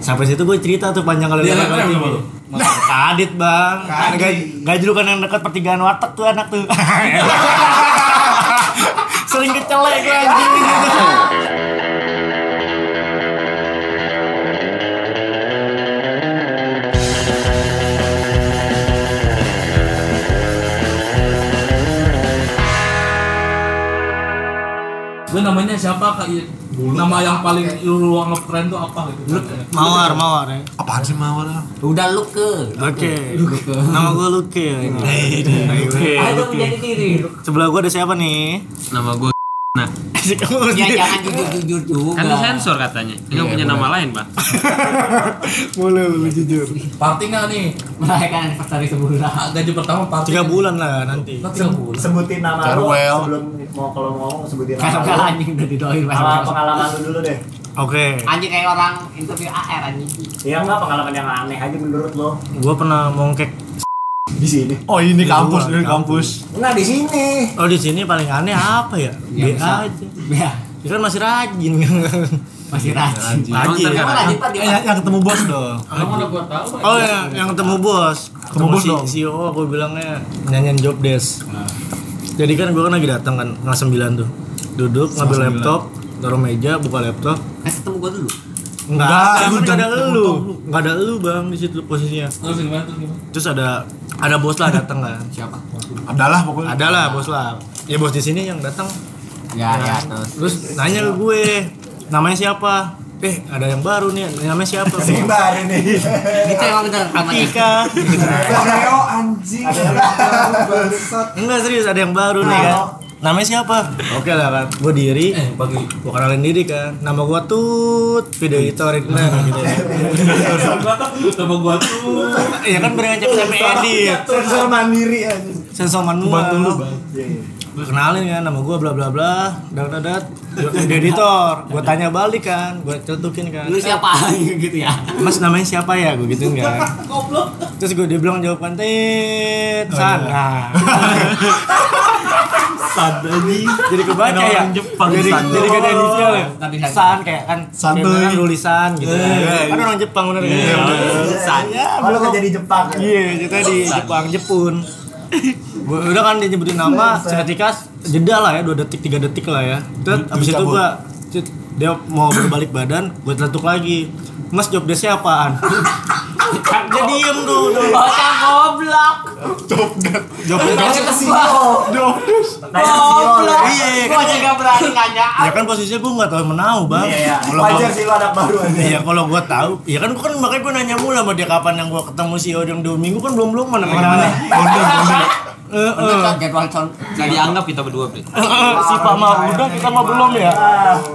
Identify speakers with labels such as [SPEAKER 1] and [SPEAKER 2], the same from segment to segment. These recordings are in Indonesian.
[SPEAKER 1] Sampai situ gue cerita tuh panjang kali
[SPEAKER 2] Dia
[SPEAKER 1] lebar
[SPEAKER 2] nempel
[SPEAKER 1] kali
[SPEAKER 2] sama lu?
[SPEAKER 1] tinggi. Kadit bang,
[SPEAKER 3] Kadit.
[SPEAKER 1] Gaj- gajlukan yang dekat pertigaan watak tuh anak tuh. Sering dicelek gue anjing gitu.
[SPEAKER 2] Lu namanya siapa kak? Iya, Nama yang paling lu ngetrend tuh apa gitu?
[SPEAKER 1] Mawar, mawar ya.
[SPEAKER 3] Apaan sih mawar? ah?
[SPEAKER 4] Udah lu ke.
[SPEAKER 1] Oke. Nama gue Luke ya. ini. Luke.
[SPEAKER 4] Ayo
[SPEAKER 1] Luke.
[SPEAKER 4] menjadi diri.
[SPEAKER 1] Sebelah gue ada siapa nih?
[SPEAKER 5] Nama gue Nah,
[SPEAKER 3] Iya,
[SPEAKER 1] Kamu harus
[SPEAKER 4] Ya
[SPEAKER 1] di-
[SPEAKER 4] jangan jujur-jujur
[SPEAKER 5] kan lu
[SPEAKER 4] juga.
[SPEAKER 5] sensor katanya.
[SPEAKER 4] Iya,
[SPEAKER 5] Enggak punya nama lain, Pak.
[SPEAKER 1] Boleh, boleh jujur.
[SPEAKER 2] Party nggak nih?
[SPEAKER 4] Merayakan anniversary kan, sebulan.
[SPEAKER 2] Ah, Gaji pertama party.
[SPEAKER 1] Tiga bulan lah nanti.
[SPEAKER 2] Nah, tiga bulan.
[SPEAKER 6] sebutin nama lu
[SPEAKER 3] Farewell.
[SPEAKER 6] sebelum mau kalau mau ngomong sebutin
[SPEAKER 4] Kalau
[SPEAKER 6] nama
[SPEAKER 4] nggak
[SPEAKER 6] lu
[SPEAKER 4] anjing udah didoain
[SPEAKER 6] sama
[SPEAKER 4] banget.
[SPEAKER 6] pengalaman lu dulu deh
[SPEAKER 1] Oke.
[SPEAKER 4] Anjing kayak orang interview AR anjing.
[SPEAKER 6] ya enggak pengalaman yang aneh aja menurut lo
[SPEAKER 1] Gue pernah mongkek
[SPEAKER 6] di sini
[SPEAKER 3] Oh ini kampus,
[SPEAKER 1] Iya,
[SPEAKER 3] ini
[SPEAKER 1] kampus.
[SPEAKER 3] kampus.
[SPEAKER 6] enggak Nah, di sini
[SPEAKER 1] Oh di sini paling aneh apa ya? B
[SPEAKER 4] bisa.
[SPEAKER 1] aja.
[SPEAKER 4] Ya,
[SPEAKER 1] Dia kan masih rajin. Iya,
[SPEAKER 4] masih rajin.
[SPEAKER 5] Emang
[SPEAKER 1] Rajin.
[SPEAKER 5] ntar
[SPEAKER 4] Kamu
[SPEAKER 5] kan-
[SPEAKER 4] lanjut Pak,
[SPEAKER 3] Eh,
[SPEAKER 1] Iya,
[SPEAKER 4] dia, Pak.
[SPEAKER 3] yang, yang ketemu bos dong.
[SPEAKER 2] Kalau mana gua tahu. Pak.
[SPEAKER 1] Oh ya, yang ketemu Nah. bos.
[SPEAKER 3] Ketemu bos
[SPEAKER 1] si,
[SPEAKER 3] dong.
[SPEAKER 1] CEO aku bilangnya nyanyian job desk. Jadi kan gue kan lagi datang kan setengah sembilan tuh. Duduk ngambil laptop, taruh meja, buka laptop.
[SPEAKER 4] Eh, ketemu gua dulu.
[SPEAKER 1] Enggak,
[SPEAKER 3] lu
[SPEAKER 1] enggak ada
[SPEAKER 3] jangan
[SPEAKER 1] elu. Enggak ada elu, Bang, di situ posisinya.
[SPEAKER 2] Terus gimana terus gimana?
[SPEAKER 1] Terus ada ada bos lah datang kan.
[SPEAKER 4] Siapa?
[SPEAKER 3] Adalah pokoknya.
[SPEAKER 1] Ada lah bos lah. Ya bos di sini yang datang
[SPEAKER 4] Ya, ya, terus.
[SPEAKER 1] terus nanya ke gue, namanya siapa? Eh, ada yang baru nih, namanya siapa?
[SPEAKER 6] sini baru nih
[SPEAKER 4] Kita emang bener namanya.
[SPEAKER 1] Atika.
[SPEAKER 3] Oreo anjing.
[SPEAKER 6] ada yang baru bangsat
[SPEAKER 1] Enggak serius ada yang baru nih kan. Namanya siapa? Oke lah kan. Gue diri,
[SPEAKER 2] Eh, pagi.
[SPEAKER 1] gue kenalin diri kan. Nama gue Tut, video itu original gitu. ya.
[SPEAKER 2] Sama gua tuh.
[SPEAKER 1] Ya kan berangkat sampai edit.
[SPEAKER 6] sensor mandiri aja
[SPEAKER 1] Sensor manual.
[SPEAKER 3] Bantu lu bang.
[SPEAKER 6] Iya, iya.
[SPEAKER 1] Gue kenalin kan nama gue bla bla bla, dat dat dat. Video editor. Gue tanya balik kan, gue cetukin kan.
[SPEAKER 4] Lu siapa gitu ya?
[SPEAKER 1] Mas namanya siapa ya? Gue gituin kan.
[SPEAKER 2] Goblok.
[SPEAKER 1] Terus gue dia bilang jawaban tit
[SPEAKER 3] Oh, iya.
[SPEAKER 1] sana.
[SPEAKER 3] Sadani.
[SPEAKER 1] Jadi kebaca
[SPEAKER 3] Ada
[SPEAKER 1] ya.
[SPEAKER 3] orang Jepang,
[SPEAKER 1] jadi
[SPEAKER 3] san.
[SPEAKER 1] jadi gak ada inisial ya.
[SPEAKER 4] Tapi san.
[SPEAKER 1] San kayak kan
[SPEAKER 3] San
[SPEAKER 1] kayak
[SPEAKER 3] tuh.
[SPEAKER 1] beneran tulisan gitu.
[SPEAKER 3] Iya,
[SPEAKER 1] kan. Kan orang Jepang bener kan.
[SPEAKER 7] Iya,
[SPEAKER 1] Saya
[SPEAKER 6] Oh, lu kerja di Jepang ya?
[SPEAKER 1] Iya, kita di Jepang Jepun. Gua- udah kan dia nyebutin nama seketika jeda lah ya 2 detik 3 detik lah ya. Terus abis itu
[SPEAKER 3] cabut.
[SPEAKER 1] gua cet, dia mau berbalik badan, gue teletuk lagi. Mas job desk-nya apaan? Dia diem tuh.
[SPEAKER 4] Bocah goblok.
[SPEAKER 1] Job desk
[SPEAKER 4] Bocah goblok.
[SPEAKER 6] Tanya
[SPEAKER 7] Oh,
[SPEAKER 6] CEO lu ya.
[SPEAKER 1] Iya,
[SPEAKER 4] Gua juga berani nanya.
[SPEAKER 1] Ya kan posisinya gue gak tau menau bang
[SPEAKER 6] Iya, iya.
[SPEAKER 1] Kalau
[SPEAKER 6] Wajar
[SPEAKER 1] gua-
[SPEAKER 6] sih lu anak baru aja.
[SPEAKER 1] Iya kalau gue tahu, ya kan gue kan makanya gue nanya mulu sama dia kapan yang gue ketemu si Odong dua minggu kan belum belum mana mana mana. Eh, eh.
[SPEAKER 4] Bener, jadwal con-
[SPEAKER 5] Enggak dianggap kita berdua, Bre.
[SPEAKER 1] Eh, eh, Si Pak mah udah kita mah belum ya.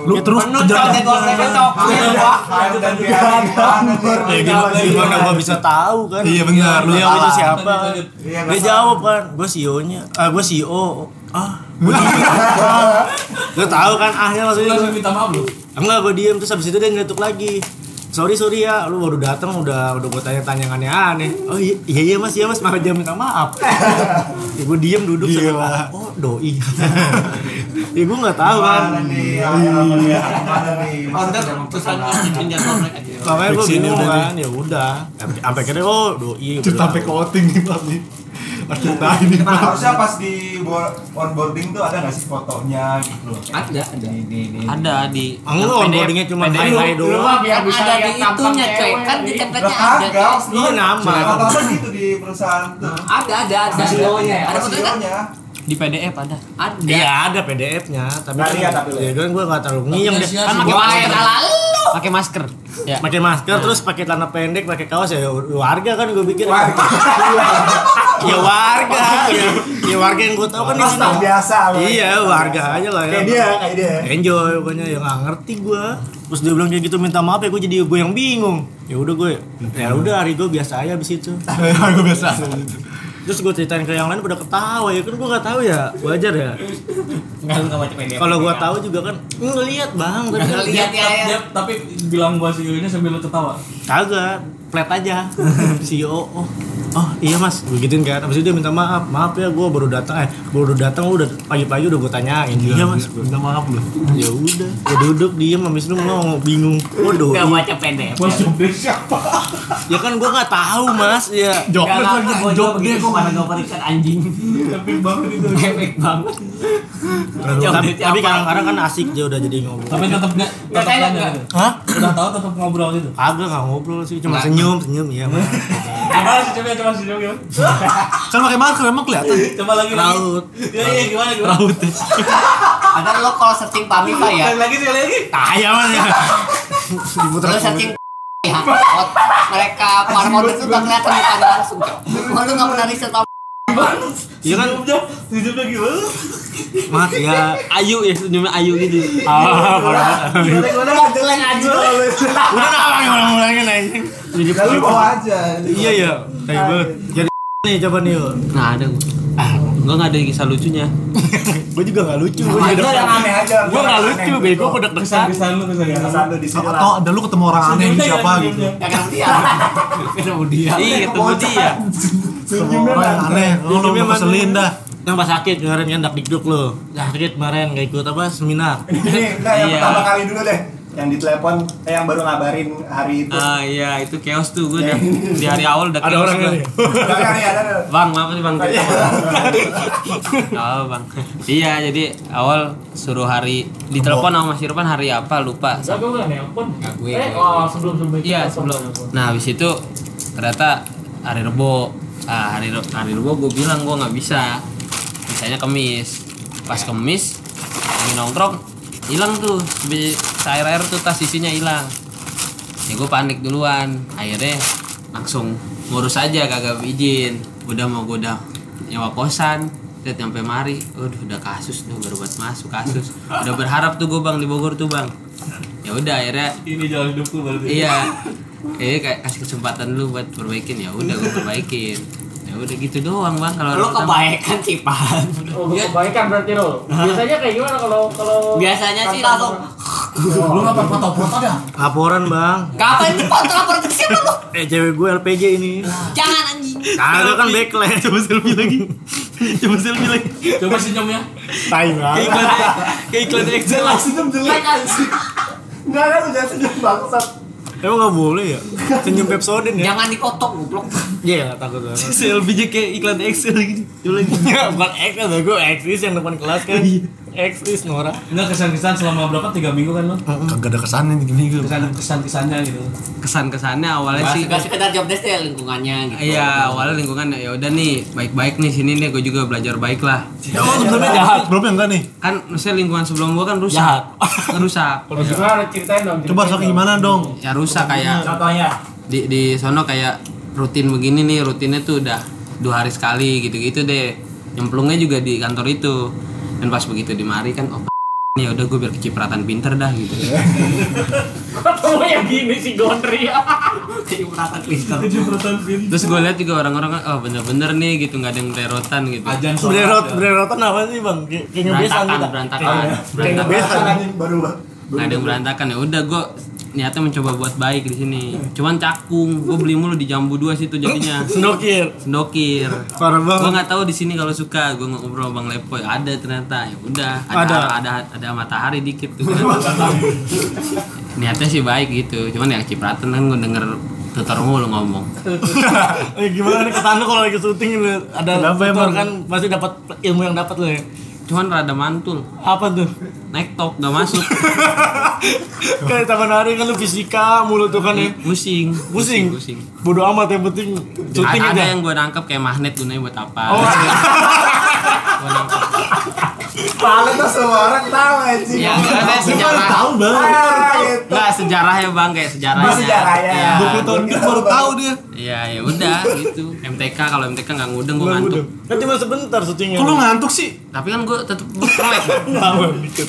[SPEAKER 3] Lu terus
[SPEAKER 4] Bener, jadwal kan,
[SPEAKER 1] kan
[SPEAKER 4] besok.
[SPEAKER 7] Iya.
[SPEAKER 6] Kayak dan kayak banget ya.
[SPEAKER 1] Ya gimana, gimana gue bisa tahu kan?
[SPEAKER 3] Iya, benar, lu
[SPEAKER 1] Dia
[SPEAKER 3] salah.
[SPEAKER 1] itu siapa?
[SPEAKER 2] Lanjut,
[SPEAKER 6] Iya,
[SPEAKER 1] Dia
[SPEAKER 6] nggak
[SPEAKER 1] jawab kan, gue CEO nya, ah gue CEO. Ah, gue tahu kan ahnya
[SPEAKER 2] Lu
[SPEAKER 1] maksudnya.
[SPEAKER 2] langsung
[SPEAKER 1] gua.
[SPEAKER 2] minta maaf lu.
[SPEAKER 1] Enggak, gue diem terus habis itu dia nyeletuk lagi. Sorry sorry ya, lu baru datang udah udah gue tanya-tanya yang aneh-aneh. Oh iya iya, iya mas iya mas maaf dia minta maaf. ya, gue diem duduk
[SPEAKER 3] Gila.
[SPEAKER 1] sama oh doi. ya gue nggak tahu kan.
[SPEAKER 6] Mana nih? Iya. Mana nih?
[SPEAKER 7] Iya.
[SPEAKER 4] Konten
[SPEAKER 5] Pesan bikin jadwal mereka.
[SPEAKER 1] Makanya gue
[SPEAKER 3] Fix ini
[SPEAKER 1] bingung
[SPEAKER 3] udah
[SPEAKER 1] kan, ya udah. Sampai- Sampai kira oh doi.
[SPEAKER 3] Cip sampai outing nih bang nih. Harus ceritain nih
[SPEAKER 7] Nah,
[SPEAKER 3] bang.
[SPEAKER 7] harusnya pas di bo- onboarding tuh ada nggak sih fotonya gitu loh.
[SPEAKER 4] Ada, ada.
[SPEAKER 7] Ini, ini, ini.
[SPEAKER 5] Ada di
[SPEAKER 1] Enggak,
[SPEAKER 5] yang PDF
[SPEAKER 1] onboardingnya cuma
[SPEAKER 5] PDF.
[SPEAKER 1] hai-hai doang.
[SPEAKER 4] Kan ada di itunya coy, kan di
[SPEAKER 7] Lah,
[SPEAKER 4] tempatnya ada.
[SPEAKER 7] kagak.
[SPEAKER 4] coy.
[SPEAKER 1] Iya nama.
[SPEAKER 7] Rata-rata gitu di perusahaan tuh.
[SPEAKER 4] Ada, ada, ada.
[SPEAKER 6] CEO-nya ya?
[SPEAKER 4] Ada fotonya kan?
[SPEAKER 7] CEO-nya.
[SPEAKER 5] Di PDF ada.
[SPEAKER 4] Ada.
[SPEAKER 1] Iya ada PDF-nya, tapi
[SPEAKER 6] Nggak lihat, tapi
[SPEAKER 1] kan,
[SPEAKER 6] lu.
[SPEAKER 1] ya kan gue nggak terlalu ngiyem deh.
[SPEAKER 2] Sia-sia
[SPEAKER 5] Kan
[SPEAKER 2] sih.
[SPEAKER 5] pakai
[SPEAKER 4] Wah,
[SPEAKER 5] masker.
[SPEAKER 4] elah lalu.
[SPEAKER 5] Pakai masker. Ya.
[SPEAKER 1] Pakai masker terus pakai celana pendek, pakai kaos ya warga kan gue pikir. ya warga ya, ya warga yang gue tau kan yang
[SPEAKER 6] Anak biasa. lu.
[SPEAKER 1] iya warga aja lah ya
[SPEAKER 6] Kayak dia, kayak dia.
[SPEAKER 1] enjoy pokoknya ya nggak ngerti gue terus dia bilang kayak gitu minta maaf ya gue jadi gue yang bingung ya udah gue ya udah hari gue biasa aja abis itu
[SPEAKER 3] Gue biasa.
[SPEAKER 1] terus gue ceritain ke yang lain udah ketawa ya kan gue nggak tahu ya wajar ya kalau gue tahu juga kan ngeliat bang tapi kan
[SPEAKER 4] Lihat ya. ya.
[SPEAKER 2] Dia- tapi bilang gua CEO-nya sambil lu ketawa.
[SPEAKER 1] kagak flat aja CEO oh oh iya mas begituin kan abis itu dia minta maaf maaf ya gue baru datang eh baru datang lu udah pagi-pagi udah gue tanyain iya mas
[SPEAKER 3] Minta maaf lu.
[SPEAKER 1] ya udah gue duduk diem abis itu mau bingung waduh iya.
[SPEAKER 4] Gak baca pendek.
[SPEAKER 3] Mas
[SPEAKER 5] Iya.
[SPEAKER 3] Jobdes siapa?
[SPEAKER 1] ya kan gue nggak tahu mas ya
[SPEAKER 3] Jobdes lagi
[SPEAKER 5] Nah,
[SPEAKER 4] Gue juga begini, gue mana gak perikat anjing
[SPEAKER 2] Epic gitu. banget itu.
[SPEAKER 4] Ngepek banget Jauh
[SPEAKER 1] tapi,
[SPEAKER 4] dari
[SPEAKER 1] tapi
[SPEAKER 4] apa?
[SPEAKER 1] kadang-kadang kan asik dia udah jadi ngobrol
[SPEAKER 2] Tapi tetap nggak tetap
[SPEAKER 4] Nggak kayak
[SPEAKER 2] nanya
[SPEAKER 4] nggak.
[SPEAKER 2] gitu.
[SPEAKER 1] hah
[SPEAKER 2] Udah tahu tetap ngobrol gitu.
[SPEAKER 1] kagak nggak ngobrol sih cuma senyum senyum ya mas
[SPEAKER 2] Gimana sih coba coba sih coba.
[SPEAKER 3] Kan pakai masker emang kelihatan.
[SPEAKER 2] Coba lagi lagi.
[SPEAKER 1] raut
[SPEAKER 2] Iya iya gimana gimana.
[SPEAKER 4] Padahal lo kalau searching Pami Pak ya
[SPEAKER 2] Lagi lagi sekali lagi.
[SPEAKER 1] kaya mas ya
[SPEAKER 4] Lo searching ya ot- Mereka para model itu gak kelihatan mukanya langsung cok Lo lu gak pernah riset tau
[SPEAKER 1] iya kan
[SPEAKER 2] Senyumnya senyumnya gimana?
[SPEAKER 1] mas ya
[SPEAKER 5] Ayu ya senyumnya Ayu gitu.
[SPEAKER 2] Iya,
[SPEAKER 1] ah parah.
[SPEAKER 4] Lo mau jeleng aja
[SPEAKER 1] udah nak apa ngomong-ngomongin aja
[SPEAKER 5] Jadi
[SPEAKER 7] Ya lu bawa aja.
[SPEAKER 1] iya ya tai banget jadi nih coba nih yuk
[SPEAKER 5] Nah ada gue.
[SPEAKER 1] ah
[SPEAKER 5] Gue nggak ada kisah lucunya.
[SPEAKER 1] gue juga nggak lucu gue
[SPEAKER 6] Itu
[SPEAKER 1] juga
[SPEAKER 6] yang aneh aja.
[SPEAKER 1] gue nggak lucu bego gue deg-degan
[SPEAKER 2] Kesan lu kesan lu.
[SPEAKER 7] Kesan lu gitu. di sini lah.
[SPEAKER 3] Atau ada lu ketemu orang aneh
[SPEAKER 2] Senyumnya
[SPEAKER 3] gitu siapa
[SPEAKER 2] gimana
[SPEAKER 3] gitu.
[SPEAKER 2] senyumnya?
[SPEAKER 4] Gak ketemu dia Ketemu dia
[SPEAKER 5] Iya ketemu dia.
[SPEAKER 3] Ketemu orang aneh, lu lu
[SPEAKER 1] Senyumnya mana?
[SPEAKER 3] keselin dah.
[SPEAKER 1] yang pas sakit kemarin kan dak dikduk lo sakit kemarin gak ikut apa seminar
[SPEAKER 7] Ini nah yang
[SPEAKER 5] Iya.
[SPEAKER 7] pertama kali dulu deh. Yang ditelepon eh yang baru ngabarin hari itu.
[SPEAKER 5] Ah iya itu chaos tuh gue udah di hari awal udah chaos gua.
[SPEAKER 3] ya?
[SPEAKER 1] lain
[SPEAKER 7] Tapi hari ada ada.
[SPEAKER 5] Bang, maaf nih bang.
[SPEAKER 1] Iya.
[SPEAKER 5] Oh bang. Iya jadi awal suruh hari ditelepon sama Mas Irfan hari apa lupa.
[SPEAKER 2] Gak gue nggak nelpon.
[SPEAKER 5] Nggak, gue-
[SPEAKER 2] Eh
[SPEAKER 5] gue.
[SPEAKER 2] oh sebelum sebelum.
[SPEAKER 5] Iya sebelum. Nah habis itu ternyata hari Rebo. Ah, hari Re- hari Rebo gue bilang gue nggak bisa. Misalnya Kemis. Pas Kemis lagi nongkrong hilang tuh air air tuh tas isinya hilang. Ya gue panik duluan. Akhirnya langsung ngurus aja kagak izin. Udah mau gue udah nyewa kosan lihat nyampe mari, Waduh, udah kasus tuh baru buat masuk kasus. Udah berharap tuh gue bang di Bogor tuh bang. Ya udah akhirnya
[SPEAKER 2] Ini jalan hidup lu berarti.
[SPEAKER 5] iya kayaknya kayak kasih kesempatan lu buat perbaikin ya udah gue perbaikin ya udah gitu doang bang kalau
[SPEAKER 4] Lo
[SPEAKER 5] ada pertama-
[SPEAKER 4] kebaikan sih Pan
[SPEAKER 2] Oh, kebaikan berarti lo. Biasanya kayak gimana kalau kalau
[SPEAKER 4] Biasanya sih langsung
[SPEAKER 6] Lu nggak pernah foto-foto dah.
[SPEAKER 1] laporan bang
[SPEAKER 4] Ngapain di foto lapor ke siapa lo?
[SPEAKER 1] eh cewek gue LPG ini
[SPEAKER 4] Jangan anjing
[SPEAKER 1] kagak kan backlash coba selfie lagi coba selfie lagi
[SPEAKER 2] coba senyumnya.
[SPEAKER 1] tai banget
[SPEAKER 5] kayak iklan Excel lah
[SPEAKER 4] Jelek anjing
[SPEAKER 7] Enggak kan udah senyum bangsat.
[SPEAKER 1] emang nggak boleh ya senyum pepsodent ya
[SPEAKER 4] Jangan dipotong goblok
[SPEAKER 1] iya takut banget
[SPEAKER 5] selfie kayak iklan Excel gitu
[SPEAKER 1] Ya, bukan eksis lah gue eksis yang depan kelas kan eksis Nora
[SPEAKER 2] Enggak kesan-kesan selama berapa tiga minggu kan lo?
[SPEAKER 3] Kagak ada kesannya gini gitu.
[SPEAKER 2] Kesan-kesan-kesannya gitu.
[SPEAKER 5] kesan kesannya awalnya
[SPEAKER 4] Gak
[SPEAKER 5] sih
[SPEAKER 4] gak sekedar job desk ya lingkungannya gitu
[SPEAKER 5] Iya, awalnya lingkungan ya udah nih baik-baik nih sini nih gue juga belajar baik lah.
[SPEAKER 1] ya emang sebelumnya jahat ya,
[SPEAKER 3] Belum enggak nih?
[SPEAKER 5] Kan maksudnya lingkungan sebelum gua kan rusak.
[SPEAKER 1] Jahat.
[SPEAKER 5] rusak.
[SPEAKER 2] Kalau gimana ceritain dong.
[SPEAKER 3] Coba sok gimana dong?
[SPEAKER 5] Ya rusak kayak
[SPEAKER 2] Contohnya.
[SPEAKER 5] di di sono kayak rutin begini nih rutinnya tuh udah dua hari sekali gitu-gitu deh nyemplungnya juga di kantor itu dan pas begitu di mari kan oh ya udah gue biar kecipratan pinter dah gitu
[SPEAKER 2] Kamu yang gini sih Gondri.
[SPEAKER 4] Kayak merata Twitter
[SPEAKER 5] terus gue lihat juga orang-orang kan oh bener-bener nih gitu nggak ada yang bererotan gitu
[SPEAKER 2] Ajan
[SPEAKER 1] bererot bererotan apa sih bang kayak kayak ngebesan
[SPEAKER 5] berantakan
[SPEAKER 1] kita
[SPEAKER 5] berantakan
[SPEAKER 1] kayak
[SPEAKER 5] berantakan
[SPEAKER 1] ngebesan
[SPEAKER 7] Anjing baru
[SPEAKER 5] nggak ada yang berantakan ya udah gue niatnya mencoba buat baik di sini cuman cakung gue beli mulu di jambu dua situ jadinya
[SPEAKER 1] sendokir
[SPEAKER 5] sendokir
[SPEAKER 1] parah
[SPEAKER 5] gue
[SPEAKER 1] banget
[SPEAKER 5] nggak tahu di sini kalau suka gue ngobrol bang Lepoy ada ternyata ya udah ada
[SPEAKER 1] Ada.
[SPEAKER 5] ada ada, matahari dikit tuh kan. niatnya sih baik gitu cuman ya cipratan kan gue denger tutor mulu ngomong
[SPEAKER 1] Eh, gimana nih kesan lu kalau lagi syuting lu ada
[SPEAKER 3] Kenapa
[SPEAKER 1] tutor
[SPEAKER 3] emang?
[SPEAKER 1] kan pasti dapat ilmu yang dapat lo ya
[SPEAKER 5] cuman rada mantul
[SPEAKER 1] apa tuh
[SPEAKER 5] naik top gak masuk
[SPEAKER 1] kayak taman hari kan lu fisika mulu tuh kan ya
[SPEAKER 5] pusing
[SPEAKER 1] pusing
[SPEAKER 5] pusing
[SPEAKER 1] bodo amat yang penting syuting
[SPEAKER 5] ada, ada
[SPEAKER 1] aja
[SPEAKER 5] yang gue nangkep kayak magnet gunanya buat apa
[SPEAKER 1] Oh.
[SPEAKER 5] Gua nangkep.
[SPEAKER 7] Paling tuh semua orang tahu anjing.
[SPEAKER 1] Iya.
[SPEAKER 5] ya ada sejarah
[SPEAKER 3] Tahu banget.
[SPEAKER 7] Ah, gitu. ya.
[SPEAKER 5] nggak sejarahnya bang kayak sejarahnya
[SPEAKER 7] Sejarahnya.
[SPEAKER 5] Iya.
[SPEAKER 3] 20 tahun dia baru tahu dia.
[SPEAKER 5] Iya ya udah gitu. MTK kalau MTK nggak ngudeng gue
[SPEAKER 1] Udah, udah.
[SPEAKER 5] ngantuk.
[SPEAKER 1] kan cuma sebentar syutingnya
[SPEAKER 3] Kok lu ngantuk sih?
[SPEAKER 5] Tapi kan gue tetep melek Bang.
[SPEAKER 1] Nah, dikit.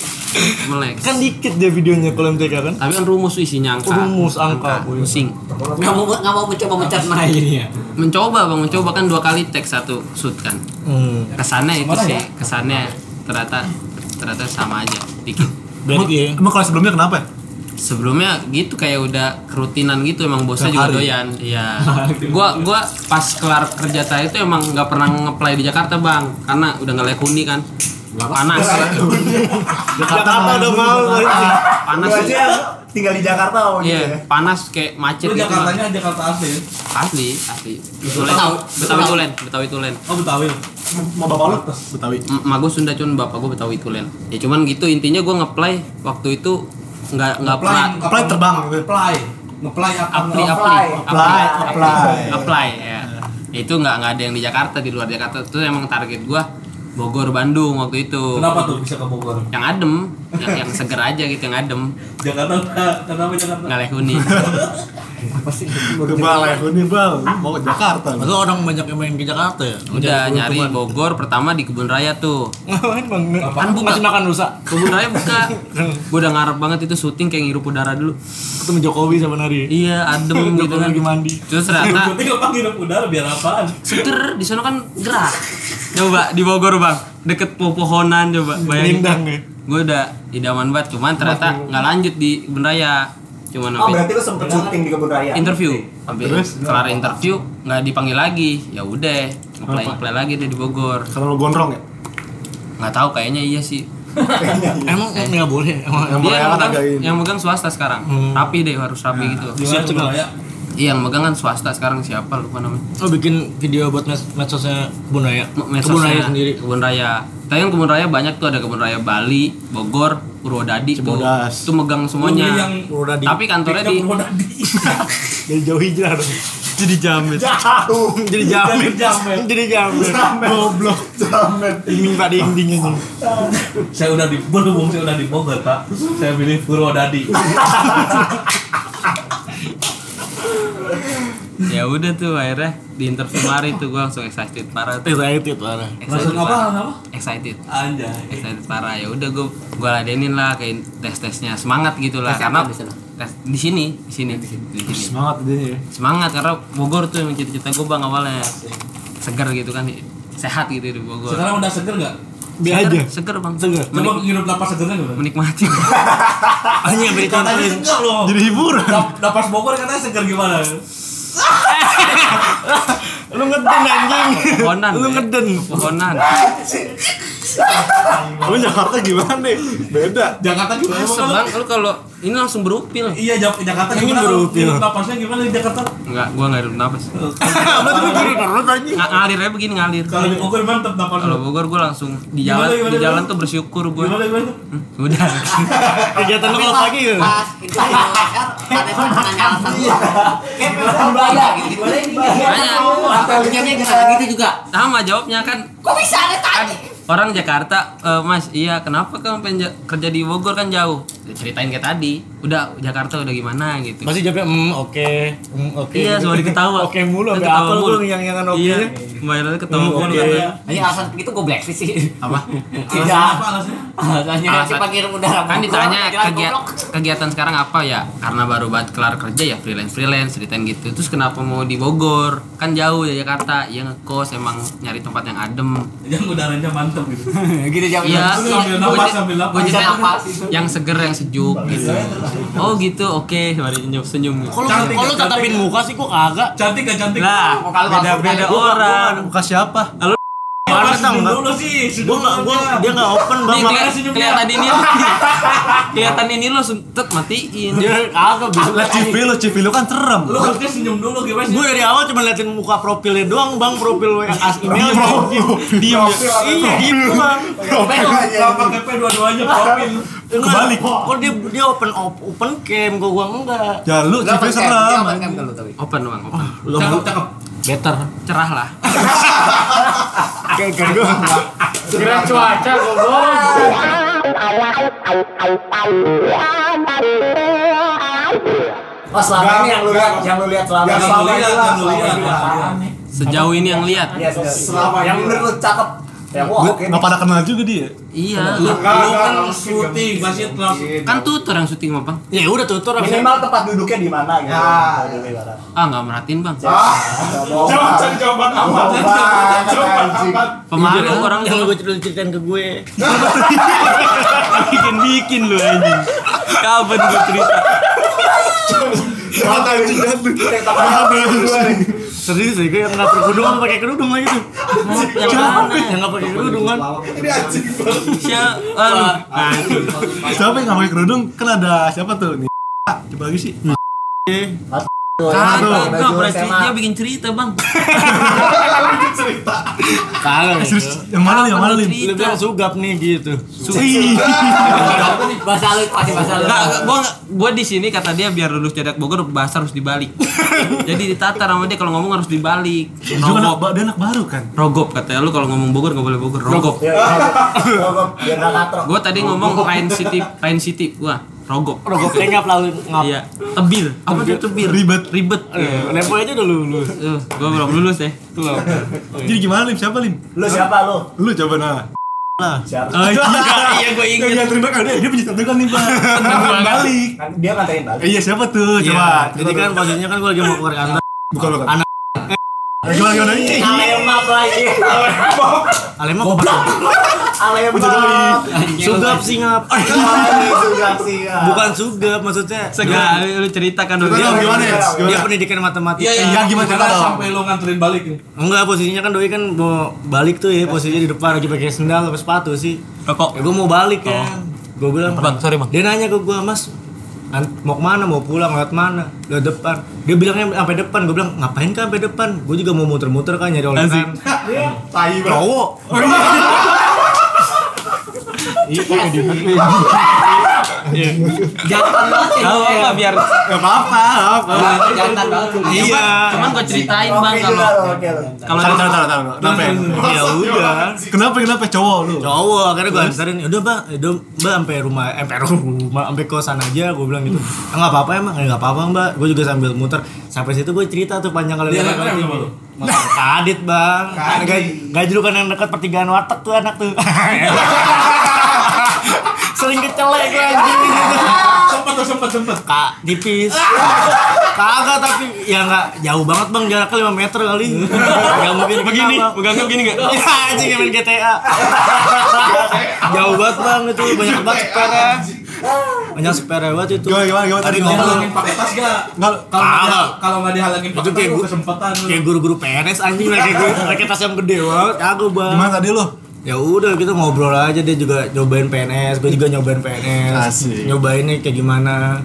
[SPEAKER 5] melek.
[SPEAKER 1] kan dikit dia videonya kalau MTK kan
[SPEAKER 5] Tapi kan rumus tuh isinya angka.
[SPEAKER 1] Rumus, angka.
[SPEAKER 5] Pusing.
[SPEAKER 4] Gak mau, gak mau mencoba mencat
[SPEAKER 2] Nah,
[SPEAKER 4] mereka ini ya
[SPEAKER 5] Mencoba bang mencoba kan dua kali teks satu shoot kan.
[SPEAKER 1] hmm.
[SPEAKER 5] Kesannya itu sih kesannya ternyata ternyata sama aja dikit.
[SPEAKER 1] berarti ya
[SPEAKER 3] Emang kalau sebelumnya kenapa? ya?
[SPEAKER 5] sebelumnya gitu kayak udah kerutinan gitu emang bosnya juga doyan iya gua gua pas kelar kerja tadi itu emang nggak pernah ngeplay di Jakarta bang karena udah nggak layak huni kan panas
[SPEAKER 1] Jakarta udah mau
[SPEAKER 5] panas
[SPEAKER 7] Lu aja tinggal di Jakarta apa gitu ya?
[SPEAKER 5] iya panas kayak macet
[SPEAKER 2] Lu
[SPEAKER 5] gitu Bang.
[SPEAKER 2] Jakartanya Jakarta asli. ya?
[SPEAKER 5] asli asli Tulen.
[SPEAKER 4] Betawi.
[SPEAKER 5] Betawi Tulen Betawi Tulen
[SPEAKER 2] Oh Betawi.
[SPEAKER 3] Mau bapak lu Betawi.
[SPEAKER 5] emak gue Sunda cuman bapak gue Betawi Tulen ya cuman gitu intinya gue ngeplay waktu itu nggak nggak
[SPEAKER 2] Apply,
[SPEAKER 5] pernah
[SPEAKER 3] Apply terbang gitu.
[SPEAKER 2] Apply. Ngeplay apa?
[SPEAKER 5] apply
[SPEAKER 2] Nge-
[SPEAKER 5] apply
[SPEAKER 3] Apply, apply.
[SPEAKER 5] apply ya itu nggak nggak ada yang di Jakarta di luar Jakarta itu emang target gue Bogor Bandung waktu itu
[SPEAKER 2] Kenapa tuh bisa ke Bogor?
[SPEAKER 5] yang adem ya, yang, yang seger aja gitu yang adem
[SPEAKER 2] Jakarta kenapa Jakarta?
[SPEAKER 5] nggak lehuni
[SPEAKER 3] Kebal ya, ini bal. Lu Mau ke Jakarta. lu.
[SPEAKER 6] Lalu orang banyak yang main ke Jakarta ya?
[SPEAKER 5] udah nyari Bogor pertama di kebun raya tuh
[SPEAKER 1] Ngapain bang?
[SPEAKER 2] Kan
[SPEAKER 5] Apaan, Bu?
[SPEAKER 1] Masih makan rusak.
[SPEAKER 5] kebun raya buka gue udah ngarep banget itu syuting kayak ngirup udara dulu
[SPEAKER 1] Ketemu Jokowi sama Nari.
[SPEAKER 5] iya adem gitu
[SPEAKER 1] Jokowi
[SPEAKER 5] kan
[SPEAKER 1] lagi mandi.
[SPEAKER 5] terus ternyata
[SPEAKER 2] Penting apa nginep udara biar apaan?
[SPEAKER 5] seger di sana kan gerak coba di Bogor bang deket pepohonan coba bayangin
[SPEAKER 1] Nindang ya.
[SPEAKER 5] gue udah idaman banget cuman ternyata nggak lanjut di kebun raya cuman
[SPEAKER 7] Oh
[SPEAKER 5] sampai
[SPEAKER 7] berarti ya? lu sempet syuting di kebun raya?
[SPEAKER 5] interview sampai kelar interview nggak dipanggil lagi ya udah ngeplay ngeplay lagi deh di Bogor
[SPEAKER 3] Karena lu gondrong ya?
[SPEAKER 5] nggak tahu kayaknya iya sih
[SPEAKER 7] Iya.
[SPEAKER 1] Emang nggak boleh. ya? Emang
[SPEAKER 3] Yang
[SPEAKER 5] Dia
[SPEAKER 3] mereka
[SPEAKER 5] yang
[SPEAKER 3] kan
[SPEAKER 5] megang,
[SPEAKER 3] agak ini.
[SPEAKER 5] yang megang swasta sekarang
[SPEAKER 7] Hmm.
[SPEAKER 5] rapi deh harus rapi
[SPEAKER 7] Nah.
[SPEAKER 5] gitu
[SPEAKER 2] Gimana tuh Bang, ya?
[SPEAKER 5] iya yang megang kan swasta sekarang siapa lupa namanya
[SPEAKER 1] lo Oh, bikin video buat mes medsosnya Kebun Raya. Kebun
[SPEAKER 5] medsosnya
[SPEAKER 1] Raya sendiri.
[SPEAKER 5] kebun raya tapi kan kebun raya banyak tuh ada kebun raya Bali Bogor Purwodadi tuh
[SPEAKER 3] Cibodas.
[SPEAKER 5] itu megang semuanya
[SPEAKER 2] Yang
[SPEAKER 1] Purwodadi.
[SPEAKER 5] tapi kantornya di
[SPEAKER 2] Yang Purwodadi.
[SPEAKER 1] Jadi jauh hijrah dong.
[SPEAKER 5] jadi jamet
[SPEAKER 7] Jauh!
[SPEAKER 1] Jadi jamin.
[SPEAKER 2] Jadi jamin.
[SPEAKER 1] Jadi jamin. Goblok.
[SPEAKER 7] Jamet
[SPEAKER 1] Dingin pak ding dingin.
[SPEAKER 2] Saya udah di Bogor, saya udah di Bogor, Pak. Saya pilih Purwodadi.
[SPEAKER 5] ya udah tuh akhirnya di interview lari tuh gue langsung excited parah tuh
[SPEAKER 1] Excited parah.
[SPEAKER 5] excited
[SPEAKER 2] Langsung apa?
[SPEAKER 5] parah.
[SPEAKER 2] Apa?
[SPEAKER 5] excited
[SPEAKER 2] Anjay.
[SPEAKER 5] excited parah ya udah gue gue ladenin lah kayak tes tesnya semangat gitu lah
[SPEAKER 4] Tes
[SPEAKER 5] karena
[SPEAKER 4] apa di sana?
[SPEAKER 5] tes di sini di sini di sini
[SPEAKER 3] Semangat dia ya.
[SPEAKER 5] semangat karena Bogor tuh yang cita-cita gue bang awalnya segar gitu kan sehat gitu di Bogor
[SPEAKER 2] Sekarang udah seger nggak?
[SPEAKER 1] Biar
[SPEAKER 5] Seger,
[SPEAKER 1] aja.
[SPEAKER 5] seger bang
[SPEAKER 1] Seger.
[SPEAKER 2] Coba
[SPEAKER 5] Menik-
[SPEAKER 2] ngirup napas segernya gimana?
[SPEAKER 5] menikmati
[SPEAKER 1] Hanya beri
[SPEAKER 2] Katanya
[SPEAKER 1] contohin.
[SPEAKER 2] seger loh.
[SPEAKER 3] Jadi hiburan.
[SPEAKER 2] Nap- Napas Bogor katanya seger gimana?
[SPEAKER 1] Lu ngeden anjing.
[SPEAKER 5] pohonan
[SPEAKER 1] Lu
[SPEAKER 5] Be.
[SPEAKER 1] ngeden.
[SPEAKER 5] pohonan
[SPEAKER 3] Lu Jakarta gimana nih? Beda.
[SPEAKER 2] Jakarta gimana?
[SPEAKER 5] Masa,
[SPEAKER 2] Bang?
[SPEAKER 5] bang lu kalau ini langsung berupil
[SPEAKER 2] Iya, Jak- Jakarta
[SPEAKER 1] Ini
[SPEAKER 2] gimana?
[SPEAKER 1] baru
[SPEAKER 2] Bang?
[SPEAKER 1] pil.
[SPEAKER 2] Ngirup napasnya gimana di Jakarta?
[SPEAKER 5] Enggak, gua nggak ada napas
[SPEAKER 1] Abang lu kiri perut anjing.
[SPEAKER 5] Nga- ngalir aja begini ngalir
[SPEAKER 2] Kalau di Bogor mantep napas.
[SPEAKER 5] kalau Bogor gua langsung di jalan
[SPEAKER 2] Gimana, gimana,
[SPEAKER 5] di jalan
[SPEAKER 2] gimana?
[SPEAKER 5] tuh bersyukur
[SPEAKER 2] Gimana
[SPEAKER 5] gua
[SPEAKER 2] gimana?
[SPEAKER 5] Hmm, udah
[SPEAKER 1] Kegiatan lu kalau pagi ya.
[SPEAKER 4] Pas itu di OSR, pada saat nanya alasan gua. Kayak memang Belanda gitu.
[SPEAKER 5] Banyak.
[SPEAKER 4] Jawabnya jangan gitu juga.
[SPEAKER 5] sama jawabnya kan
[SPEAKER 4] Kok bisa ada tadi?
[SPEAKER 5] orang Jakarta "Eh, Mas iya kenapa kamu pengen ja- kerja di Bogor kan jauh Ya, ceritain kayak tadi udah Jakarta udah gimana gitu
[SPEAKER 1] Pasti jawabnya mm oke. Mm oke.
[SPEAKER 5] Iya,
[SPEAKER 1] Gitu.
[SPEAKER 5] semua diketawa.
[SPEAKER 1] Oke mulu
[SPEAKER 5] Lu
[SPEAKER 1] sampai
[SPEAKER 5] ketawa
[SPEAKER 1] apa lu
[SPEAKER 5] mulu.
[SPEAKER 1] yang-yangan oke. ya.
[SPEAKER 5] iya mbak Ira ketemu
[SPEAKER 1] Hmm,
[SPEAKER 5] gua
[SPEAKER 1] oke.
[SPEAKER 5] karena
[SPEAKER 4] Ini alasan begitu gue black sih.
[SPEAKER 5] apa
[SPEAKER 4] Tidak.
[SPEAKER 2] Apa alasannya?
[SPEAKER 4] Alasannya
[SPEAKER 5] Alasan-
[SPEAKER 4] si pengirim udara.
[SPEAKER 5] kan
[SPEAKER 4] Bogor,
[SPEAKER 5] ditanya
[SPEAKER 4] jalan
[SPEAKER 5] kegia-
[SPEAKER 4] goblok.
[SPEAKER 5] kegiatan sekarang apa ya karena baru banget kelar kerja ya freelance freelance ceritain gitu terus kenapa mau di Bogor kan jauh dari Jakarta ya ngekos emang nyari tempat yang adem
[SPEAKER 2] Yang udaranya mantep gitu.
[SPEAKER 4] Gitu jawabnya.
[SPEAKER 5] Iya.
[SPEAKER 2] Lu ambil napas ambil napas.
[SPEAKER 4] Bisa napas.
[SPEAKER 5] yang seger yang sejuk gitu oh gitu oke mari senyum senyum
[SPEAKER 1] Kok lu-
[SPEAKER 2] Cantik,
[SPEAKER 1] kok lu
[SPEAKER 2] cantik.
[SPEAKER 1] tatapin muka sih kok kagak?
[SPEAKER 2] Cantik gak cantik?
[SPEAKER 5] lah
[SPEAKER 4] Kalau langsung
[SPEAKER 5] beda beda
[SPEAKER 4] kayak kan gua,
[SPEAKER 5] orang
[SPEAKER 3] Buka siapa?
[SPEAKER 2] Apa
[SPEAKER 1] Mana
[SPEAKER 2] senyum
[SPEAKER 1] tau,
[SPEAKER 2] dulu sih?
[SPEAKER 1] Gua nggak, gua dia nggak open bang.
[SPEAKER 5] Nih,
[SPEAKER 1] makanya
[SPEAKER 5] keli-
[SPEAKER 2] senyumnya.
[SPEAKER 5] kelihatan ini kelihatan ini lo sentet matiin
[SPEAKER 1] Dia kagak bisa
[SPEAKER 3] Lah Cipi lu, Cipi lu kan serem.
[SPEAKER 2] Lu harusnya senyum dulu gimana sih?
[SPEAKER 1] Gue dari awal cuma liatin muka profilnya doang bang, profil WA aslinya diem, diem, iya diem doang.
[SPEAKER 2] Gak pakai P dua-duanya profil.
[SPEAKER 3] Kebalik.
[SPEAKER 1] Kok dia dia open op- open cam, kok gua enggak.
[SPEAKER 3] Ya lu,
[SPEAKER 4] Lu apa
[SPEAKER 3] Cipi
[SPEAKER 4] yang kayak- dia apa
[SPEAKER 3] serem.
[SPEAKER 4] yang kayak lu tapi?
[SPEAKER 5] open bang open
[SPEAKER 1] Lo
[SPEAKER 2] Cakep cakep.
[SPEAKER 1] better.
[SPEAKER 5] cerah lah
[SPEAKER 1] Kayak kayak gua.
[SPEAKER 8] Kira cuaca goblok.
[SPEAKER 4] Oh selama ini yang lu lihat, yang lu lihat selama
[SPEAKER 7] Yang
[SPEAKER 4] ini.
[SPEAKER 7] selama
[SPEAKER 2] lihat,
[SPEAKER 7] ini lah,
[SPEAKER 2] yang lu
[SPEAKER 7] selama
[SPEAKER 2] lihat.
[SPEAKER 7] ini lah.
[SPEAKER 5] sejauh ini yang lihat
[SPEAKER 4] Iya, sudah. yang menurut lu cakep. Yang wah
[SPEAKER 3] Gua
[SPEAKER 4] oke.
[SPEAKER 3] nggak pada kenal juga dia.
[SPEAKER 5] iya
[SPEAKER 2] Lu lu
[SPEAKER 7] Enggak,
[SPEAKER 2] kan
[SPEAKER 7] enggak, mungkin,
[SPEAKER 2] syuting
[SPEAKER 7] enggak
[SPEAKER 2] pasti
[SPEAKER 7] mungkin.
[SPEAKER 2] langsung.
[SPEAKER 5] kan tutor yang syuting sama bang
[SPEAKER 1] Ya udah tutur abis
[SPEAKER 7] Minimal tempat duduknya di mana gitu. Tempat
[SPEAKER 4] Ah,
[SPEAKER 7] duduknya di mana.
[SPEAKER 5] ah nggak merhatiin bang
[SPEAKER 7] Coba cari jawaban apa? Coba anjing.
[SPEAKER 5] pemalu orang
[SPEAKER 1] yang
[SPEAKER 5] yang
[SPEAKER 1] lu ceritain ke gue.
[SPEAKER 5] bikin bikin lu anjing Kapan gue cerita?
[SPEAKER 1] Mata anjing jatuh. Mata anjing. Serius sih, kayak nggak berkerudung apa pakai kerudung lagi tuh.
[SPEAKER 5] Yang
[SPEAKER 1] Siapa
[SPEAKER 5] mana?
[SPEAKER 1] yang nggak pakai kerudung kan?
[SPEAKER 5] Iya, Siapa? Nah,
[SPEAKER 3] Siapa yang nggak pakai kerudung? Kan ada siapa tuh nih? Coba lagi sih.
[SPEAKER 1] Eh.
[SPEAKER 5] kagak
[SPEAKER 3] Aduh,
[SPEAKER 5] bang, berarti dia bikin cerita bang.
[SPEAKER 1] Kagak.
[SPEAKER 3] Serius, yang mana nih? Yang mana nih?
[SPEAKER 1] Lu bilang sugap nih gitu.
[SPEAKER 4] Bahasa halus pasti bahasa halus.
[SPEAKER 5] Enggak, enggak, gua gua di sini kata dia biar lulus jadak Bogor bahasa harus dibalik. Jadi ditata sama dia kalau ngomong harus dibalik.
[SPEAKER 3] Dia juga anak,
[SPEAKER 5] Rogop.
[SPEAKER 3] ba- dia anak baru kan?
[SPEAKER 5] Rogop katanya lu kalau ngomong Bogor nggak boleh Bogor. Rogop.
[SPEAKER 7] Biar nggak katro.
[SPEAKER 5] Gua tadi ngomong Rain City, Rain City gua. Rogop.
[SPEAKER 1] Rogok tengah lalu ngap.
[SPEAKER 5] Iya, tebil. Apa tuh tebil?
[SPEAKER 3] Ribet.
[SPEAKER 5] Ribet.
[SPEAKER 1] Eh, Nepo aja udah lulus.
[SPEAKER 5] Eh, gua belum lulus deh.
[SPEAKER 1] Tuh lah.
[SPEAKER 3] Jadi gimana lim? Siapa lim?
[SPEAKER 7] Lu siapa lu?
[SPEAKER 3] Lu coba nah.
[SPEAKER 7] Siapa?
[SPEAKER 5] Oh iya, gua
[SPEAKER 3] Iya, iya, terima kasih. Dia punya kan nih pak. Balik.
[SPEAKER 7] Kan dia ngatain balik.
[SPEAKER 3] Iya siapa tuh? Coba.
[SPEAKER 1] Jadi kan posisinya kan gue lagi mau keluar kantor.
[SPEAKER 3] bukan bukan.
[SPEAKER 1] Anak.
[SPEAKER 3] Eh, Gimana gimana? Ih,
[SPEAKER 7] Alemap lagi.
[SPEAKER 1] Alema kok
[SPEAKER 7] Alemap.
[SPEAKER 1] sugap sih ngap.
[SPEAKER 7] Sudah sih.
[SPEAKER 1] Bukan sugap maksudnya.
[SPEAKER 5] Enggak, lu- lu ceritakan dulu.
[SPEAKER 3] Gimana
[SPEAKER 5] Dia-
[SPEAKER 3] gimana? Yes?
[SPEAKER 1] Dia
[SPEAKER 3] Gimana?
[SPEAKER 1] pendidikan matematika.
[SPEAKER 2] Iya
[SPEAKER 3] Iya, gimana cerita dong?
[SPEAKER 2] sampai lu nganterin balik ya? nih?
[SPEAKER 1] Enggak posisinya kan doi kan mau balik tuh ya posisinya di depan lagi pakai sendal apa sepatu sih.
[SPEAKER 5] Rokok.
[SPEAKER 1] Ya gue mau balik kan. Gue bilang
[SPEAKER 5] Bang, sorry, Bang.
[SPEAKER 1] Dia nanya ke gue mas an- mau kemana mau pulang lewat mana lewat depan dia bilangnya sampai depan gue bilang ngapain kan sampai depan gue juga mau muter-muter kan nyari olesan
[SPEAKER 7] Tai banget.
[SPEAKER 1] cowok iya kayak di Iya.
[SPEAKER 4] Jantan banget sih.
[SPEAKER 5] Gak apa-apa biar
[SPEAKER 3] Gak apa-apa. gak apa-apa.
[SPEAKER 4] Ah, Jantan banget.
[SPEAKER 1] iya
[SPEAKER 5] cuman gua ceritain bang
[SPEAKER 7] Oke
[SPEAKER 5] kalau
[SPEAKER 7] juga lu, Iya, oke lu.
[SPEAKER 5] kalau
[SPEAKER 3] Taruh taruh taruh taruh. Kenapa? ya?
[SPEAKER 1] ya udah
[SPEAKER 3] Kenapa kenapa cowok lu?
[SPEAKER 1] cowok akhirnya gue anterin udah mbak udah mbak sampai rumah eh, sampai rumah sampai kosan aja gue bilang gitu "Ah, nggak apa apa emang "Eh, nggak apa apa mbak gue juga sambil muter sampai situ gue cerita tuh panjang kali
[SPEAKER 2] Dia
[SPEAKER 1] lebar
[SPEAKER 2] nempel
[SPEAKER 1] kali
[SPEAKER 2] sama
[SPEAKER 1] tinggi.
[SPEAKER 2] lu?
[SPEAKER 1] Nah, kadit bang
[SPEAKER 7] Kadit.
[SPEAKER 1] gak gak julukan yang dekat pertigaan warteg tuh anak tuh sering kecelek gue anjing
[SPEAKER 2] Sempet tuh, sempet, sempet
[SPEAKER 1] kak tipis kagak tapi ya nggak jauh banget bang jaraknya 5 meter kali nggak mungkin begini
[SPEAKER 5] pegangnya gini gak?
[SPEAKER 1] Iya anjing yang main GTA. Jauh banget bang itu banyak banget sepeda. Banyak sepeda banget itu.
[SPEAKER 3] Gimana gimana gimana?
[SPEAKER 1] Tadi
[SPEAKER 3] ngomong.
[SPEAKER 2] Dihalangin pakai tas gak?
[SPEAKER 3] Nggak,
[SPEAKER 2] Kalau nggak
[SPEAKER 1] Kagak.
[SPEAKER 2] dia- kalau nggak dihalangin pakai
[SPEAKER 1] Itu
[SPEAKER 2] tas,
[SPEAKER 1] kayak
[SPEAKER 2] lu
[SPEAKER 1] gua-
[SPEAKER 2] kesempatan lu
[SPEAKER 1] Kayak guru-guru PNS anjing pakai guru pakai tas yang gede banget. Aku
[SPEAKER 3] Gimana
[SPEAKER 1] bang.
[SPEAKER 3] tadi lu?
[SPEAKER 1] Ya udah kita ngobrol aja dia juga nyobain PNS, gue juga nyobain PNS.
[SPEAKER 3] Asik.
[SPEAKER 1] Nyobainnya kayak gimana?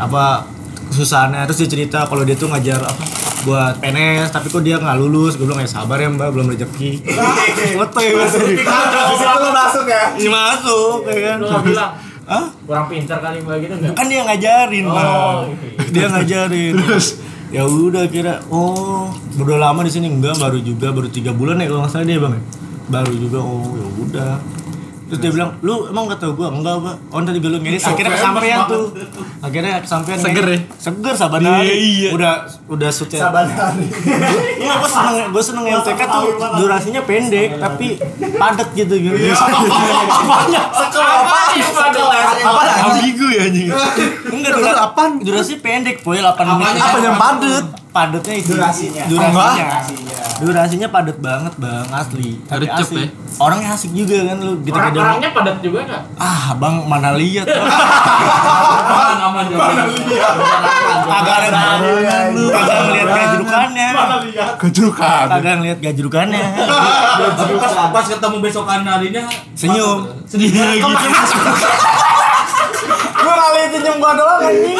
[SPEAKER 1] Apa susahnya terus dia cerita kalau dia tuh ngajar apa buat PNS tapi kok dia nggak lulus gue bilang ya sabar ya mbak belum rezeki ngeteh gue sih
[SPEAKER 7] Lu masuk ya.
[SPEAKER 1] Iya, masuk ya kan
[SPEAKER 8] bilang
[SPEAKER 1] Hah?
[SPEAKER 8] kurang pintar kali mbak gitu enggak?
[SPEAKER 1] kan dia ngajarin
[SPEAKER 8] Oh,
[SPEAKER 1] Bang.
[SPEAKER 8] iya.
[SPEAKER 1] dia ngajarin terus ya udah kira oh udah lama di sini enggak baru juga baru tiga bulan ya kalau nggak salah dia bang ya? baru juga oh ya udah terus dia bilang lu emang kata gua enggak pak oh tadi belum ngirit akhirnya kesampaian tuh akhirnya kesampaian
[SPEAKER 5] Seger
[SPEAKER 1] ngirit. seger sabar hari
[SPEAKER 3] Iya, iya.
[SPEAKER 1] udah udah sukses
[SPEAKER 7] Sabar hari.
[SPEAKER 1] Iya, gue seneng, gue seneng LTK tuh durasinya pendek tapi padat gitu gitu.
[SPEAKER 3] Apa ambigu ya anjing?
[SPEAKER 1] Enggak durasi apaan? Durasi pendek, boy 8 menit.
[SPEAKER 3] Apa yang padet?
[SPEAKER 1] Padatnya itu
[SPEAKER 7] Durasinya.
[SPEAKER 1] Durasinya.
[SPEAKER 7] Durasinya.
[SPEAKER 1] Durasinya padat banget, Bang, asli. Tapi
[SPEAKER 5] Gercep,
[SPEAKER 1] asik.
[SPEAKER 5] ya?
[SPEAKER 1] Orangnya asik juga kan lu kita
[SPEAKER 8] Orang
[SPEAKER 1] kerja.
[SPEAKER 8] orangnya padat juga enggak?
[SPEAKER 1] Ah, Bang, mana lihat Bang.
[SPEAKER 2] Aman, aman, jawabannya.
[SPEAKER 1] kagak
[SPEAKER 3] Iya,
[SPEAKER 1] ada
[SPEAKER 7] lu.
[SPEAKER 1] kagak ngelihat gajerukannya.
[SPEAKER 3] Kejurukan.
[SPEAKER 1] Kagak ngelihat gajerukannya.
[SPEAKER 2] Pas, pas ketemu besokan harinya
[SPEAKER 1] Senyum. Iya,
[SPEAKER 2] Sedih gitu
[SPEAKER 1] Gua kali itu senyum gua doang anjing.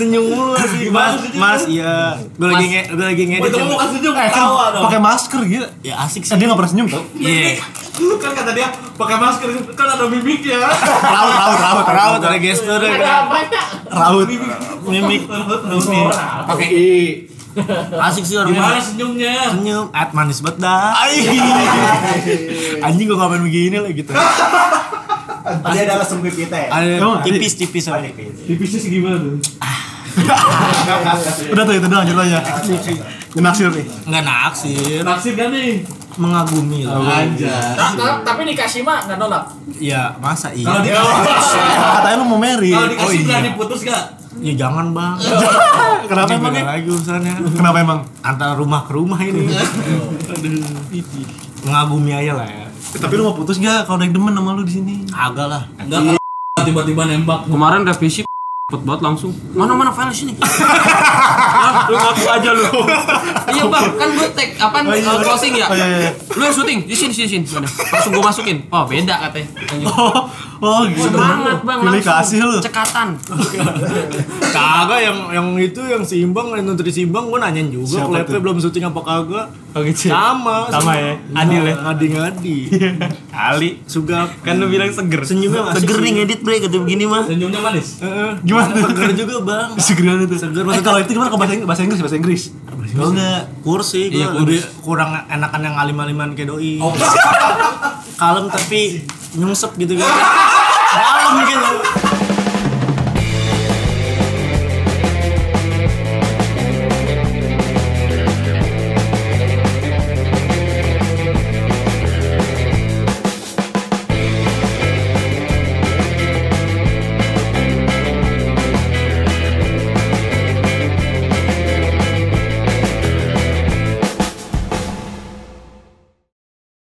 [SPEAKER 1] Senyum mulu sih, Mas. Mas, iya. Gua lagi nge gua lagi
[SPEAKER 2] Gua
[SPEAKER 1] ngedit.
[SPEAKER 2] itu
[SPEAKER 1] yang-
[SPEAKER 2] mau kasih senyum, ketawa dong
[SPEAKER 3] Pakai masker gitu.
[SPEAKER 1] Ya asik
[SPEAKER 3] Eh,
[SPEAKER 1] sih.
[SPEAKER 3] dia nggak pernah senyum tau?
[SPEAKER 1] Iya.
[SPEAKER 2] Kan kata dia, pakai masker, kan ada mimiknya
[SPEAKER 3] Raut raut raut
[SPEAKER 1] Raut ada gestur kan.
[SPEAKER 8] Ada apa ya?
[SPEAKER 3] raut.
[SPEAKER 1] mimik
[SPEAKER 8] Pakai i.
[SPEAKER 1] asik sih
[SPEAKER 2] Gimana
[SPEAKER 1] orangnya
[SPEAKER 2] senyumnya?
[SPEAKER 1] senyum at manis banget dah anjing gua ngapain begini lah gitu
[SPEAKER 7] Dia adalah sempit kita ya.
[SPEAKER 1] ada
[SPEAKER 3] Emang
[SPEAKER 1] tipis tipis aja
[SPEAKER 2] Tipisnya segimana?
[SPEAKER 3] Udah tuh itu doang judulnya. Naksir nih.
[SPEAKER 1] nggak naksir
[SPEAKER 2] Naksir gak nih?
[SPEAKER 1] mengagumi lah
[SPEAKER 2] Anjay
[SPEAKER 8] Ta- Tapi nikah Shima enggak nolak.
[SPEAKER 1] ya masa
[SPEAKER 2] Kalau
[SPEAKER 1] iya
[SPEAKER 2] dia
[SPEAKER 3] Katanya lu mau marry.
[SPEAKER 2] Kalau
[SPEAKER 3] Oh
[SPEAKER 2] dikasih
[SPEAKER 3] iya.
[SPEAKER 2] berani putus gak?
[SPEAKER 1] ya jangan bang
[SPEAKER 3] Kenapa emang?
[SPEAKER 1] beda
[SPEAKER 3] Nih?
[SPEAKER 1] lagi urusannya
[SPEAKER 3] Kenapa emang?
[SPEAKER 1] antara rumah ke rumah ini mengagumi ya. aja lah ya
[SPEAKER 3] Tapi lu mau putus gak kalau ada yang demen sama lu di sini?
[SPEAKER 1] agak lah
[SPEAKER 2] Enggak tiba-tiba nembak
[SPEAKER 5] Kemarin revisi cepet banget langsung. Mana mana file sini. Lah, lu ngaku aja lu. iya bang, kan gue take apa
[SPEAKER 3] Oh, iya,
[SPEAKER 5] uh,
[SPEAKER 3] iya.
[SPEAKER 5] closing ya.
[SPEAKER 3] Oh, iya, iya.
[SPEAKER 5] Lu yang syuting di sini sini sini. Mana? Langsung gue masukin. Oh beda katanya. Anjing.
[SPEAKER 3] Oh, oh gitu.
[SPEAKER 5] Semangat bang
[SPEAKER 3] Pilih kasih lu.
[SPEAKER 5] Cekatan.
[SPEAKER 1] Kagak yang yang itu yang seimbang yang nutrisi seimbang gua nanyain juga
[SPEAKER 3] Siapa tuh?
[SPEAKER 1] kalau belum syuting apa kagak.
[SPEAKER 3] Oh gitu.
[SPEAKER 1] Sama.
[SPEAKER 3] Sama ya? Adil ya?
[SPEAKER 1] Ngadi-ngadi.
[SPEAKER 5] Kali.
[SPEAKER 1] Suga
[SPEAKER 5] Kan lu bilang seger.
[SPEAKER 1] senyumnya masih
[SPEAKER 6] Seger nih ngedit bre kata begini mah.
[SPEAKER 2] senyumnya manis
[SPEAKER 1] Heeh.
[SPEAKER 3] Gimana tuh?
[SPEAKER 1] Seger juga, Bang.
[SPEAKER 3] Segeran itu.
[SPEAKER 1] Seger,
[SPEAKER 3] eh,
[SPEAKER 1] maksudnya-
[SPEAKER 3] kalau itu gimana ke bahasa Inggris? Bahasa Inggris, bahasa Inggris.
[SPEAKER 1] Tau nggak kursi gue
[SPEAKER 5] Iya, kurus.
[SPEAKER 1] lebih kurang enakan yang alim-aliman kayak
[SPEAKER 3] Oh.
[SPEAKER 1] doi. Kalem tapi nyungsep gitu kan. Dalam gitu.